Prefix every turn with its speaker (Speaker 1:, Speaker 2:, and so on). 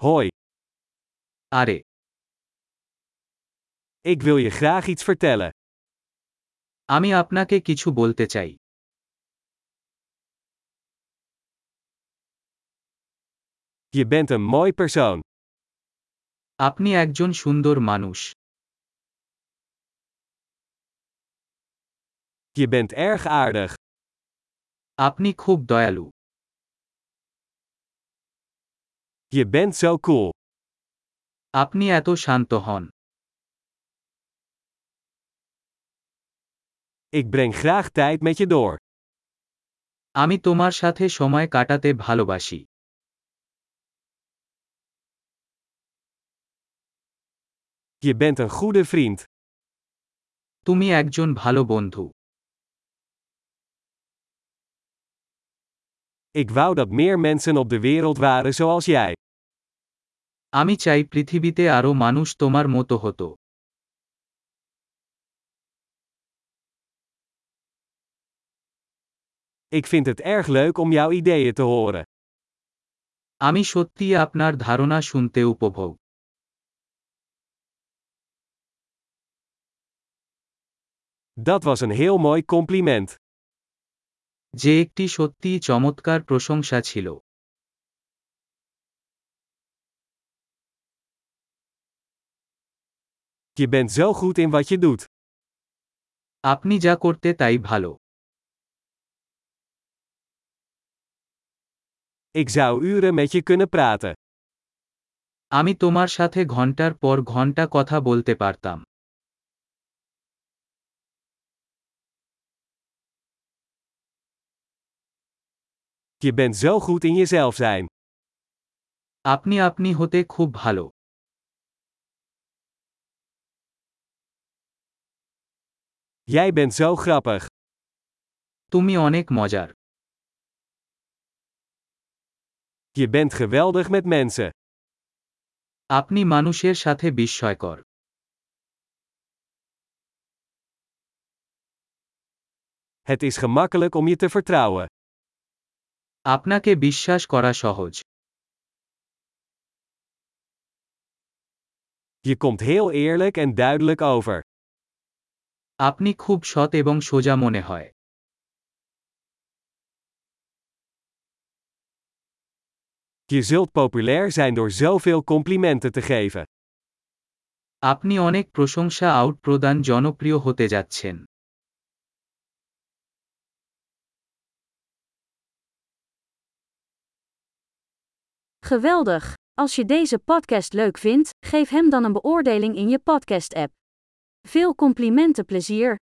Speaker 1: Hoi. Are. Ik wil je graag iets vertellen.
Speaker 2: আমি আপনাকে কিছু বলতে চাই
Speaker 1: Je bent een mooi persoon.
Speaker 2: আপনি একজন সুন্দর মানুষ
Speaker 1: Je bent erg aardig.
Speaker 2: আপনি খুব দয়ালু
Speaker 1: Je bent zo cool.
Speaker 2: আপনি এত শান্ত হন
Speaker 1: Ik breng graag tijd met je door.
Speaker 2: আমি তোমার সাথে সময় কাটাতে ভালোবাসি
Speaker 1: Je bent een goede vriend.
Speaker 2: তুমি একজন ভালো বন্ধু
Speaker 1: Ik wou dat meer mensen op de wereld waren zoals jij.
Speaker 2: আমি চাই পৃথিবীতে আরও মানুষ তোমার মতো হতো
Speaker 1: Ik vind het erg leuk om jouw ideeën te horen.
Speaker 2: আমি সত্যিই আপনার ধারণা শুনতে উপভোগ
Speaker 1: Dat was een heel mooi compliment.
Speaker 2: যে একটি সত্যিই চমৎকার প্রশংসা ছিল
Speaker 1: Je bent zo goed in wat je doet.
Speaker 2: আপনি যা করতে তাই ভালো
Speaker 1: Ik zou uren met je kunnen praten.
Speaker 2: আমি তোমার সাথে ঘন্টার পর ঘন্টা কথা বলতে পারতাম
Speaker 1: Je bent zo goed in jezelf zijn.
Speaker 2: আপনি আপনি হতে খুব ভালো
Speaker 1: Jij bent zo grappig.
Speaker 2: তুমি অনেক মজার
Speaker 1: Je bent geweldig met mensen.
Speaker 2: আপনি মানুষের সাথে বিস্ময়কর
Speaker 1: Het is gemakkelijk om je te vertrouwen.
Speaker 2: আপনাকে বিশ্বাস করা সহজ
Speaker 1: Je komt heel eerlijk en duidelijk over.
Speaker 2: আপনি খুব সৎ এবং সোজা মনে হয়
Speaker 1: Je zult populair zijn door zoveel complimenten te geven.
Speaker 2: আপনি অনেক প্রশংসা আউট প্রদান জনপ্রিয় হতে যাচ্ছেন
Speaker 3: Geweldig! Als je deze podcast leuk vindt, geef hem dan een beoordeling in je podcast-app. Veel complimenten plezier!